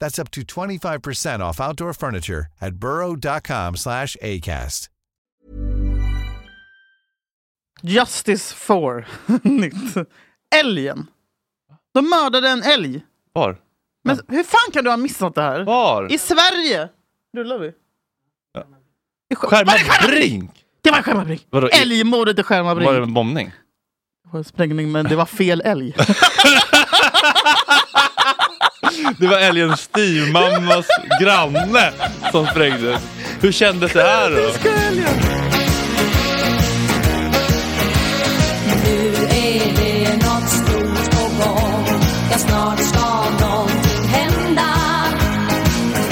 That's up to 25% off outdoor furniture at burrow.com slash ACAST. Justice for nytt. Älgen. De mördade en älg. Var? Men hur fan kan du ha missat det här? Var? I Sverige! Rullar vi? I Sk- Var det Skärmar Skärmarbrink? Brink! Det var Skärmarbrink! Vadå, i- Älgmordet i Skärmarbrink. Var det en bombning? Det var en sprängning, men det var fel älg. Det var älgens styvmammas granne som sprängdes. Hur kändes det här då? Nu är det något stort på gång Ja, snart ska någonting hända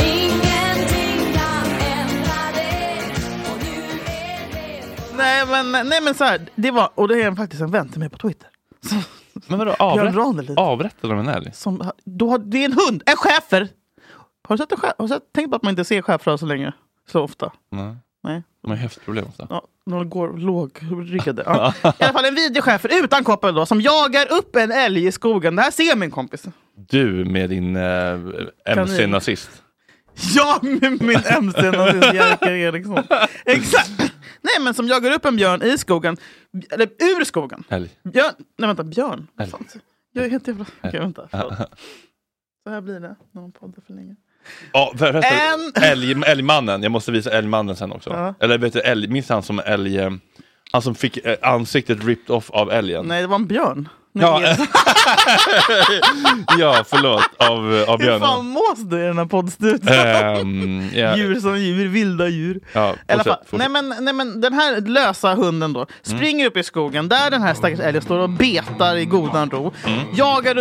Ingenting kan ändra det Och nu är det nej, men, nej men så här, det var, och det är faktiskt en vän till mig på Twitter. Som, Men vadå, Björn Ranelid. avrätt, avrättade de en älg? som, då har, det är en hund, en schäfer! Har du, sett en schä, har du sett, tänkt på att man inte ser schäfrar så länge? Så ofta? Nej. Nej. Mm. De har ju höftproblem ofta. Ja, någon går lågryggade. Ja. I alla fall en vidrig schäfer utan koppel då, som jagar upp en älg i skogen. Det här ser min kompis. Du med din eh, MC-nazist. Ja, med min MC nazist Jerker Eriksson. Exakt! Nej, men som jagar upp en björn i skogen. Eller ur skogen. Älg. Björn... Nej, vänta. Björn. Älg. Fan. Jag är helt jävla... Okej, vänta. förlåt. Så här blir det när man poddar för länge. Ja, för, En- förresten, älg, älgmannen. Jag måste visa älgmannen sen också. Ja. Eller vet du, älg, minns han som älg... eh, Han som fick eh, ansiktet ripped off av älgen? Nej, det var en björn. Nu Ja, är det- Ja, förlåt. Av, eh, av Hur fan björnen. mås du i den här poddstudion? Ehm, ja, Djur som djur, vilda djur. Ja, I alla fall, fortsätt, nej, fortsätt. men, nej men den här lösa hunden då springer upp i skogen där den här stackars älgen står och betar i godan ro. Mm. Jagar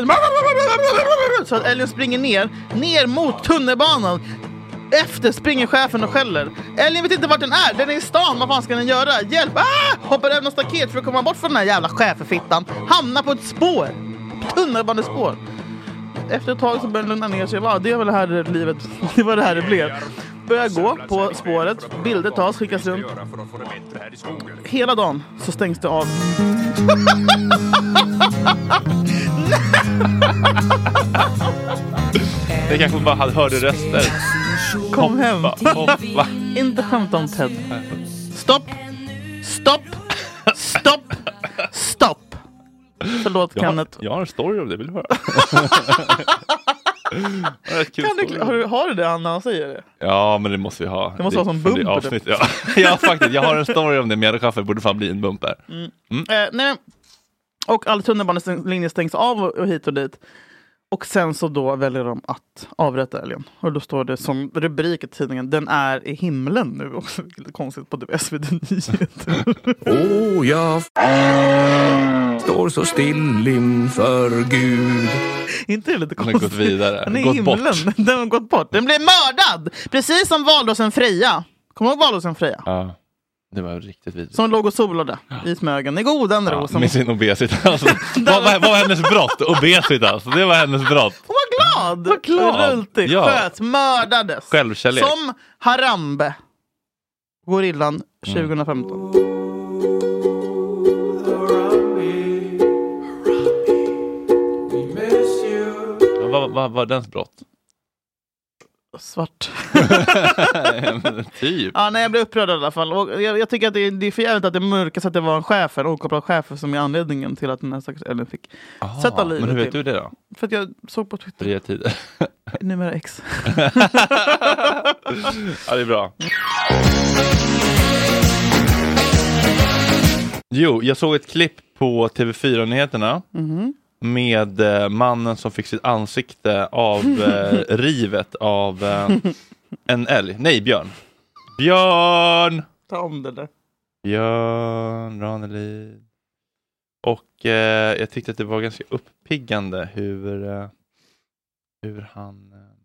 runt så att älgen springer ner, ner mot tunnelbanan. Efter springer chefen och skäller. Älgen vet inte vart den är, den är i stan, vad fan ska den göra? Hjälp! Ah! Hoppar över något staket för att komma bort från den här jävla schäferfittan. Hamnar på ett spår, tunnelbanespår. Efter ett tag så började den lugna ner sig. Va, det var det här livet. Det var det här det blev. Börjar gå på spåret. Bilder tas, skickas runt. Hela dagen så stängs det av. Det kanske bara hade- hörde röster. Kom hem. Hoppa, hoppa. Inte skämta om Ted. Stopp. Stopp. Stopp. Stopp. Förlåt Jag har, Kenneth. jag har en story om det, vill du höra? Det var en kul Kan du, story. har, du, har du det Anna? Han säger det. Ja, men det måste vi ha. Det måste vara som typ. för bumper, avsnitt, ja. ja, faktiskt. Jag har en story om det. Mjäderkaffe borde fan bli en bumper. Eh, nej, men- och all tunnelbanelinje stängs av och, och hit och dit. Och sen så då väljer de att avrätta älgen. Och då står det som rubrik i tidningen, den är i himlen nu också. Vilket är Konstigt på typ SVT Nyheter. Och jag f- Oh, står så still inför Gud. Inte det lite Den har konstigt? gått vidare. Den är i Gått himlen. bort. Den har gått bort. Den blev mördad! Precis som valrossen Freja. Kommer du ihåg valrossen Freja? Ja, det var riktigt vidrigt. Som låg och solade i Smögen i godan ro. Ja, som... Med sin obesitas. Alltså, vad, vad, vad var hennes brott? Obesitas. Det var hennes brott. Hon var glad! Var glad. Rultig, Ja. sköts, mördades. Självkärlek. Mm. Som Harambe. Gorillan 2015. Ja, Vad vad var dens brott? Svart. typ. Ja, nej, jag blev upprörd i alla fall. Och jag, jag tycker att det, är- det är för jävligt att det mörkas att det var en chef, en okopplad chef som är anledningen till att den här stackars älgen fick sätta livet Ah, Men hur vet till. du det då? För att jag såg på Twitter, Fria tider. numera X. ja, det är bra. Jo, jag såg ett klipp på TV4-nyheterna med eh, mannen som fick sitt ansikte av eh, rivet av eh, en älg. Nej, björn. Björn! Ta om det där. Björn Ranelid. Och eh, jag tyckte att det var ganska uppiggande hur, eh, hur han eh,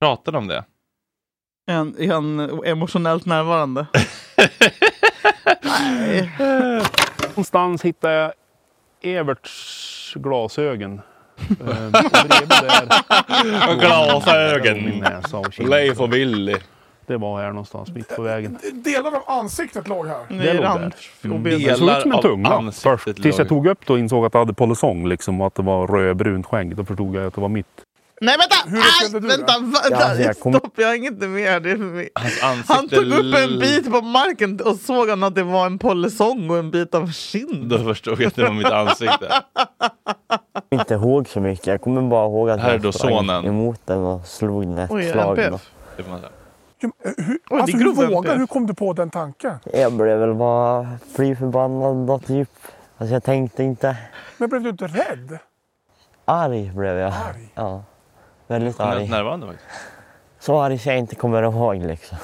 pratade om det. Är han, är han emotionellt närvarande? Nej. Någonstans hittade jag Everts glasögon. Eh, och bredvid där- Glasögon. Min näsa och kind. Mm. och Billy. Det var här någonstans mitt på vägen. Delar av ansiktet låg här. Det Det är låg rand. och ben. Det såg ut som en av tunga ansiktet först. Tills låg- jag tog upp det och insåg att det hade polisong liksom och att det var rödbrunt skägg. Då förstod jag att det var mitt. Nej vänta! Aj, kände du vänta, vänta! Ja, alltså, jag kom- Stopp, jag hänger inte med. Det är för mycket. Hans ansikte Han tog upp en l- bit på marken och såg han att det var en polisong och en bit av kind. Då förstod jag att det var mitt ansikte. inte ihåg så mycket. Jag kommer bara ihåg att Här är jag då sprang sonen. emot den och slog den ett Oj, slag. då. MPF. Det får man säga. Hur, Oj, alltså, det är hur grov vågar MPF. Hur kom du på den tanken? Jag blev väl bara fly förbannad då typ. Alltså jag tänkte inte. Men blev du inte rädd? Arg blev jag. Ja. Väldigt arg. Nä- Närvarande faktiskt. Så arg så jag inte kommer ihåg liksom.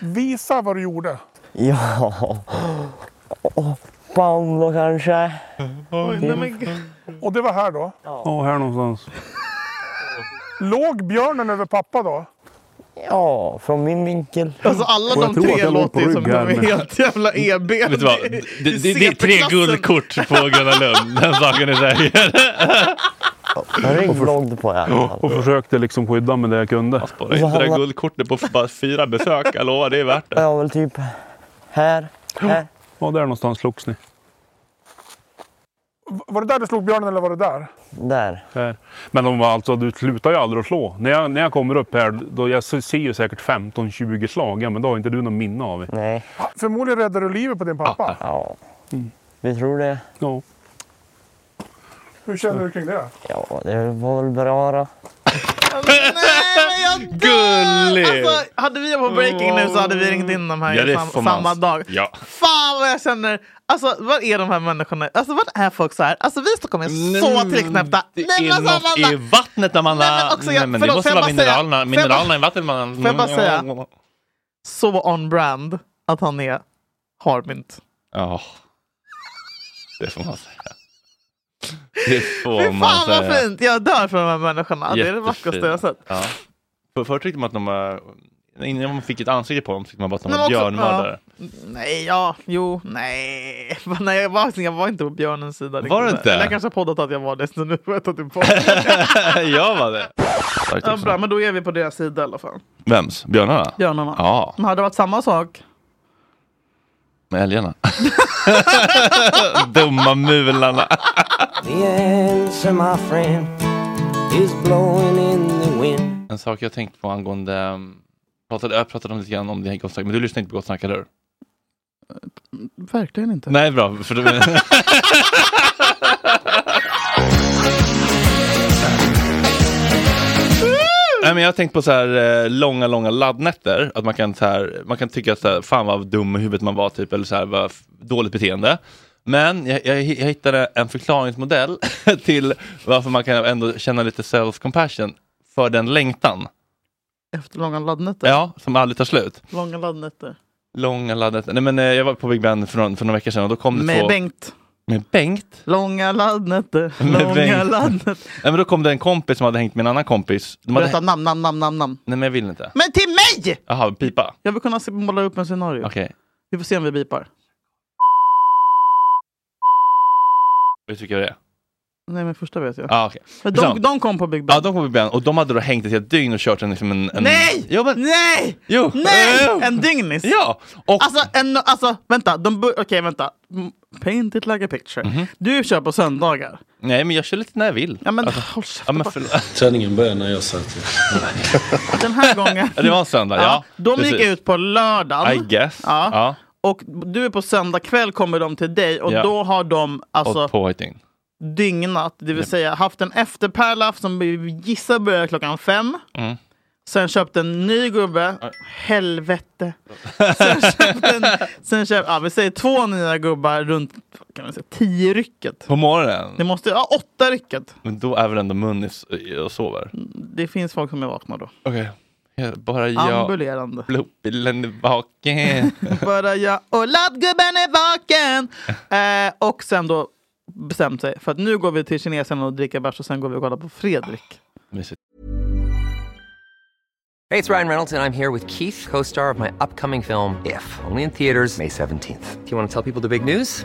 Visa vad du gjorde. Ja. Oh, bam då kanske. Oj, nej, men gud. Och det var här då. Ja, här någonstans. Låg björnen över pappa då? Ja, från min vinkel. Alltså alla Och de jag tror att tre jag låg på låter ju som de ryggen. är helt jävla E EB. Vet du vad? Det, det, det är tre guldkort på Gröna Lund. Den saken är säker. En rygg låg det på i alla fall. Och försökte liksom skydda med det jag kunde. Bara inte det där guldkortet på f- bara fyra besök. Jag lovar, det är värt det. Jag var väl typ här. här. Ja, där någonstans slogs ni. V- Var det där du slog björnen eller var det där? Där. Här. Men de var alltså, du slutar ju aldrig att slå. När jag, när jag kommer upp här, då jag ser ju säkert 15-20 slag. Ja, men då har inte du någon minne av det. Nej. Förmodligen räddade du livet på din pappa. Ja. Vi tror det. Ja. Hur känner du kring det? Ja, det var väl bra då. Nej, jag dör! Gullig! Alltså, hade vi på breaking nu så hade vi ringt in de här Ja, det får sam- man. samma dag. Ja. Fan vad jag känner! Alltså vad är de här människorna? Alltså vad är folk så här? Alltså vi i Stockholm är så tillknäppta. Nej, Det men är alltså, något Amanda, i vattnet Amanda. Nej, men också jag- men det förlåt, måste får jag vara bara säga- mineralerna, får jag bara- mineralerna i vattnet. Man. jag bara säga? Så on brand att han är harmynt. Ja. Det får man säga. Det får Fy man fan vad säga. fint! Jag dör för de här människorna. Det är det Jättefina. vackraste jag har sett. Ja. För, förr tyckte man att de var... Innan man fick ett ansikte på dem tyckte man bara att de Men var också- björnmördare. Nej, ja, jo, nej. nej jag, var, jag var inte på björnens sida. riktigt. Var du inte? Eller jag kanske har poddat att jag var det, så nu vet jag att det är på. jag var det. Starkt Ja, också. bra, men då är vi på deras sida i alla fall. Vems? Björnarna? Björnarna. Ja, Men hade det varit samma sak? med älgarna. Dumma mularna. The answer, my friend, is blowing in the wind. En sak jag tänkt på angående... um, Pratade, jag pratade om lite grann om det här Gott Snack, men du lyssnar inte på Gott Snack, eller hur? Verkligen inte. Nej, bra. För du... Nej, men jag har tänkt på så här eh, långa, långa laddnätter. Att man kan, så här, man kan tycka att så här, fan vad dum i huvudet man var, typ, eller så här, vad f- dåligt beteende. Men jag, jag, jag hittade en förklaringsmodell till varför man kan ändå känna lite self-compassion för den längtan. Efter långa laddnätter. Ja, som aldrig tar slut. Långa laddnätter. Långa laddnätter. Nej, men eh, jag var på Big Ben för, någon- för några veckor sedan och då kom det Med två... Bengt. med Bengt. Långa laddnätter. Med Långa Bengt. laddnätter. Nej, men då kom det en kompis som hade hängt med en annan kompis. De hade... Berätta namn, namn, namn, namn, namn. Nej, men jag vill inte. Men till mig! Jaha, pipa. Jag vill kunna se- måla upp en scenario. Okej. Vi får se om vi bipar. Hur tycker jag det? Nej, men första vet jag. Ja, okej. För Skitsamma. de, de kom på Big Ben. Ja, de kom på ben och de hade då hängt ett helt dygn och kört en... Liksom en, en... Nej! Jo, men... Nej! Jo! Nej! Eh, En dygnis. Ja! Och... Alltså, en, alltså vänta. De bör- Okej, vänta. Mm, Paint it like a picture. Mhm. Du kör på söndagar. Nej, men jag kör lite när jag vill. Ja, men Alltså, håll käften. ja, men förlåt. Träningen börjar när jag satt. Den här gången. Ja, det var en söndag, ja. de gick Precis. ut på lördagen. I guess. Ja. Ja. Och du är på söndag kväll kommer de till dig och Ja. då har de alltså Och på ett dygn. dygnat, det vill säga haft en efterpärla som vi gissar börjar klockan fem. Mm. Sen köpt en ny gubbe. Helvete. Sen köpt en, Sen köper, ja, vi säger två nya gubbar runt vad kan man säga, tio rycket. På morgonen? Det måste, ja, åtta rycket. Men då är väl ändå Munnis och sover? Det finns folk som är vakna då. Okej. Bara jag... Ambulerande. Blodbilen är vaken. Bara jag och laddgubben är vaken! Eh, och sen då bestämt sig för att nu går vi till kinesen och dricker bärs och sen går vi och kollar på Fredrik. Mysigt. Hey, it's Ryan Reynolds, and I'm here with Keith, co star of my upcoming film, If, only in theaters, May 17th. Do you want to tell people the big news?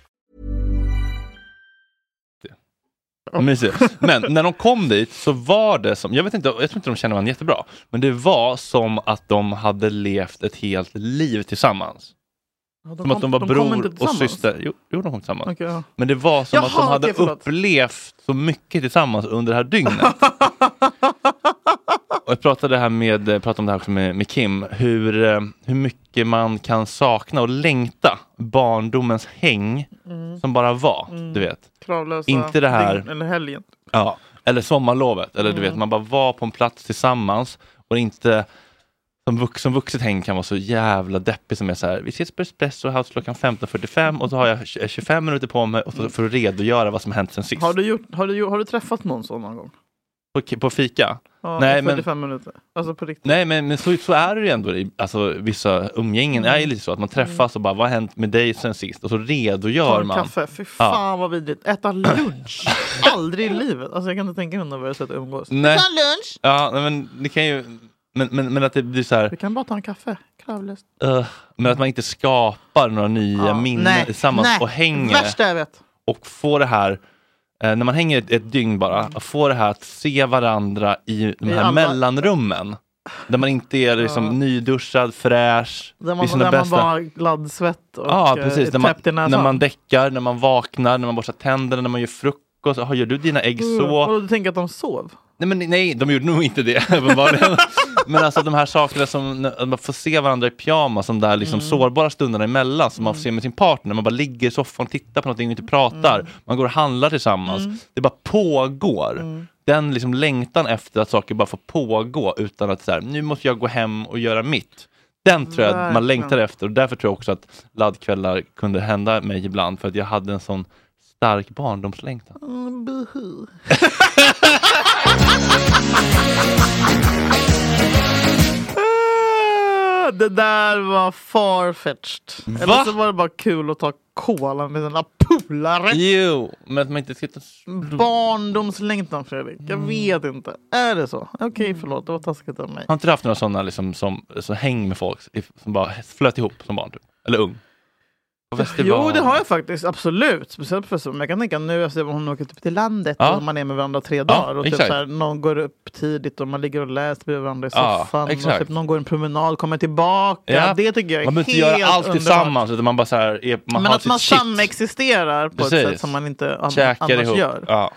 Mysigt. Men när de kom dit så var det som, jag vet inte, jag tror inte de känner varandra jättebra, men det var som att de hade levt ett helt liv tillsammans. Ja, som att de var kom inte bror och tillsammans. syster. Jo, jo, de kom tillsammans. Okej, ja. Men det var som Jaha, att de hade okej, förlåt. upplevt så mycket tillsammans under det här dygnet. och jag pratade, här med, eh, pratade om det här också med, med Kim, hur, eh, hur mycket man kan sakna och längta barndomens häng Mm. som bara var. Du vet. Kravlösa Inte det här. dygn, Eller helgen. Ja. Eller sommarlovet, eller Mm. du vet, man bara var på en plats tillsammans och inte som, vux, som vuxet häng kan vara så jävla deppig som är så här, vi ses på Espresso House klockan 15.45 och så har jag tj- 25 minuter på mig och så, för att redogöra vad som hänt sen sist. Mm. Har du, gjort, har, du, gjort- har du träffat någon sån någon gång? På, på fika? Ja, nej, Nej, men, 45 minuter. Alltså på riktigt. nej, men, men så, så är det ju ändå i alltså, vissa Mm. umgängen, är ju lite så att man träffas och bara, vad har hänt med dig sen sist? Och så redogör Ta man. Mm. kaffe. Fy fan vad vidrigt. Äta lunch. Aldrig i livet. Alltså jag kan inte tänka mig något värre sätt att umgås. Nej. Vi tar lunch. Ja, nej, men det kan ju, men, men, men att det blir så här, Vi kan bara ta en kaffe. Kravlöst. Ugh, men att man inte skapar några nya minnen tillsammans och hänger Värsta jag vet. och får det här, eh, när man hänger ett, ett dygn bara, att få det här att se varandra i de I här alla- mellanrummen. Där man inte är liksom nyduschad, fräsch, Där vid man, sina där man bästa. bara har gladdsvett och ja, eh, precis. är När man, täppt i näsan. när man däckar, när man vaknar, när man borstar tänderna, när man gör frukost. Jaha, gör du dina ägg Mm. så? Och du tänker att de sov? Nej, men, nej, de gjorde nog inte det uppenbarligen. men alltså de här sakerna som att man får se varandra i pyjamas, de där liksom Mm. sårbara stunderna emellan som man får se med sin partner. Man bara ligger i soffan och tittar på någonting och inte pratar. Mm. Man går och handlar tillsammans. Det bara pågår. Mm. Den liksom längtan efter att saker bara får pågå utan att så här, nu måste jag gå hem och göra mitt. Den tror jag att man Verkligen. längtar efter och därför tror jag också att laddkvällar kunde hända mig ibland för att jag hade en sån stark barndomslängtan. Mm, buhu. Ah, Det där var farfetched. Va? Eller så var det bara kul att ta cola med sina polare. Jo, men att man inte ska ta Barndomslängtan Fredrik. Jag Mm. vet inte. Är det så? Okej förlåt, det var taskigt av mig. Har inte du haft några sådana liksom, som, som häng med folk if- som bara flöt ihop som barn? Typ. Eller ung? På festival. Jo det har jag faktiskt, absolut. Speciellt för så. Men jag kan tänka nu efter att man åker typ till landet Ja. och man är med varandra tre dagar. och typ exakt. så här, någon går upp tidigt och man ligger och läser bredvid varandra i Ja, soffan. och exakt. typ, någon går en promenad, kommer tillbaka. Ja. Det tycker jag är Man behöver helt inte göra allt underbart. tillsammans utan man bara så här, är, man Men har att man sitt shit, samexisterar på ett Precis. sätt som man inte an- käkar annars ihop. gör. Ja.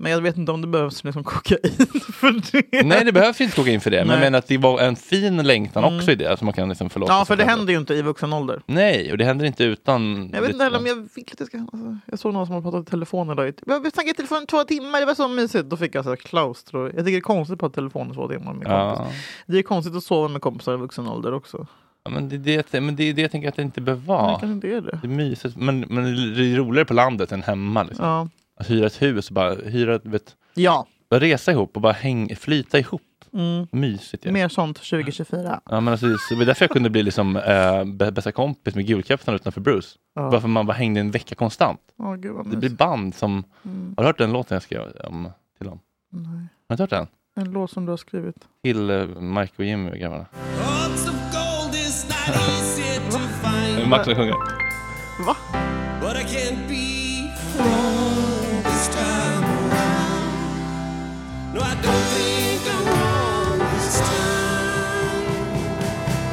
Men jag vet inte om det behövs liksom kokain för det. Nej, det behövs ju inte kokain för det. Men Nej. jag menar att det var en fin längtan Mm. också i det. Som man kan liksom förlåta Ja, sig för det själv. händer ju inte i vuxen ålder. Nej, och det händer inte utan... Jag vet inte heller om jag fick lite... ska- Alltså, jag såg någon som har pratat i telefon idag. Vi har snackat i telefon i två timmar, det var så mysigt. Då fick jag så här klaustro. Jag tycker det är konstigt att prata i telefon i två timmar med Ja. kompis. Det är konstigt att sova med kompisar i vuxen ålder också. Ja, men det är det, men det, är det jag tänker att det inte behöver Men vara. det kanske inte är det. Det är mysigt, men, men det är roligare på landet än hemma. Liksom. Ja. Att hyra ett hus och bara hyra, du vet, Ja. bara resa ihop och bara häng, flyta ihop. Mm. Mysigt. Ja. Mer sånt 2024. Ja, men alltså, det var därför jag kunde bli liksom, eh, bä- bästa kompis med gulkräftan utanför Bruce. Ja. Varför man bara hängde en vecka konstant. Åh, gud vad det blir mysigt. band som... Mm. Har du hört den låten jag skrev om, till om? Nej. Har du inte hört den? En låt som du har skrivit. Till eh, Mike och Jimmy och grabbarna. Hearts of gold is not easy to Det är find. Max som sjunger. Va? But I can't be wrong this time around. No, I don't think I'm wrong this time.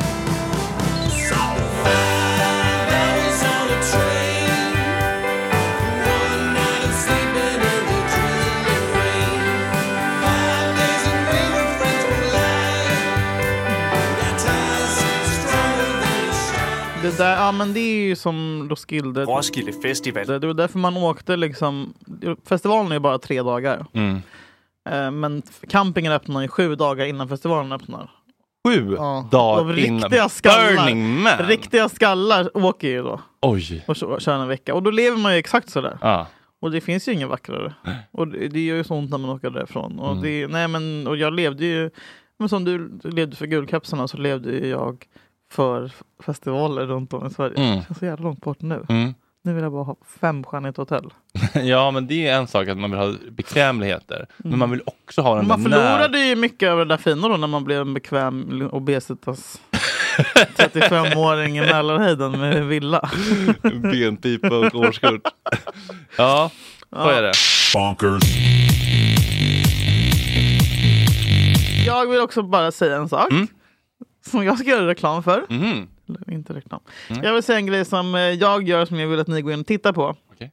So five hours on a train, one night of sleeping in the drizzling rain, five days away where friends were lying. Got ties stronger than a shot. Det där, ja men det är ju som Roskilde. Roskilde festival. Det, det var därför man åkte liksom. Festivalen är ju bara tre dagar. Mm. Eh, Men campingen öppnar ju sju dagar innan festivalen öppnar. Sju Ja. Och dagar innan. riktiga skallar. Burning man! Riktiga skallar åker ju då. Oj! Och så- kör en vecka. Och då lever man ju exakt sådär. Ja. Och det finns ju ingen vackrare. Och det det gör ju så ont när man åker därifrån. Och, Mm. det, nej, men, och jag levde ju, men som du levde för guldkapslarna så levde ju jag för f- festivaler runt om i Sverige. Mm. Det känns så jävla långt bort nu. Mm. Nu vill jag bara ha femstjärnigt hotell. ja, men det är en sak att man vill ha bekvämligheter. Men Mm. man vill också ha den Man där när- förlorade ju mycket av det där fina då när man blev en bekväm obesitas 35-åring i Mälarhöjden med villa. Benpipa och årskort. ja, så Ja. är det. Bonkers. Jag vill också bara säga en sak. Mm. Som jag ska göra reklam för. Mhm. Eller inte reklam. Mm. Jag vill säga en grej som eh, jag gör som jag vill att ni går in och tittar på. Okej.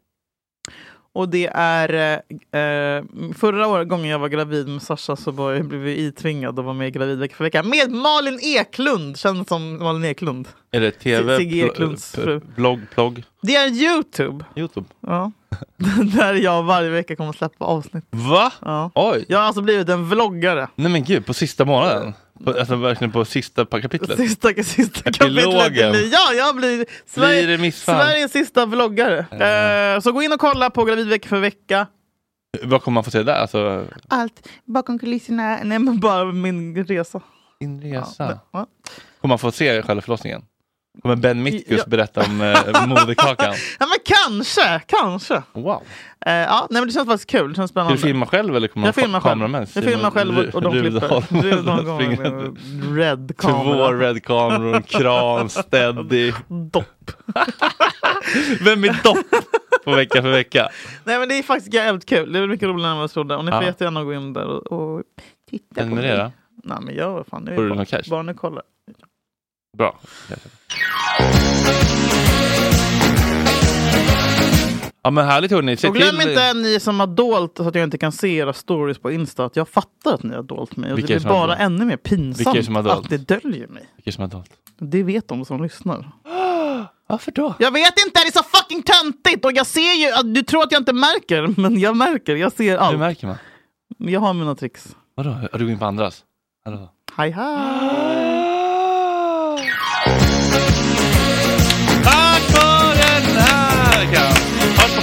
Och det är... eh, Eh, förra året, gången jag var gravid med Sasha så var jag, blev jag itvingad att vara med i Gravid vecka för vecka. Med Malin Eklund! Känns som Malin Eklund. Är det tv? Sigge pl- Eklunds pl- fru. Blogg, plogg? Det är Youtube. Youtube? Ja. Där jag varje vecka kommer att släppa avsnitt. Va? Ja. Oj! Jag har alltså blivit en vloggare. Nej men gud, på sista månaden? På, alltså verkligen på sista pa- kapitlet? Sista, sista Epilogen. Ja, jag blir Blir Sverige, det missfall? Sveriges sista vloggare. Eh, så gå in och kolla på Gravid vecka för vecka. Vad kommer man få se där? Alltså, Allt bakom kulisserna. Nej, men bara min resa. Din resa. Ja, men, kommer man få se själva förlossningen? Kommer Ben Mitkus Ja. berätta om eh, moderkakan? ja, men kanske, kanske. Wow. Eh, ja, nej, men det känns faktiskt kul. Det känns Ska du spännande. filma själv eller kommer Jag man filmar ha själv. kameramän? Jag filmar själv och- och de klipper. Rudolf kommer med red kamera. Två red kameror, kran, steady. Dopp. Vem är dopp på vecka för vecka? Nej, men det är faktiskt jävligt kul. Det är mycket roligare än vad jag trodde. Och ni får Ja. jättegärna gå in där och, och titta på mig. Prenumerera. Nej, men jag, vad fan, nu Får du är någon cash? det barnen kollar. Bra. Ja men härligt hörni. Se Och glöm till- inte ni som har dolt så att jag inte kan se era stories på Insta att jag fattar att ni har dolt mig. Och det Vilka är blir som har bara dolt? ännu mer Vilka är det pinsamt som har dolt? att det döljer mig. Vilket som är dolt. Det vet de som lyssnar. Varför då? Jag vet inte, det är så fucking töntigt! Och jag ser ju, att du tror att jag inte märker, men jag märker. Jag ser Hur allt. märker man? Jag har mina tricks. Vadå? Har du gått in på andras? Hallå? Hej hej! Tack för den här veckan! Hörs på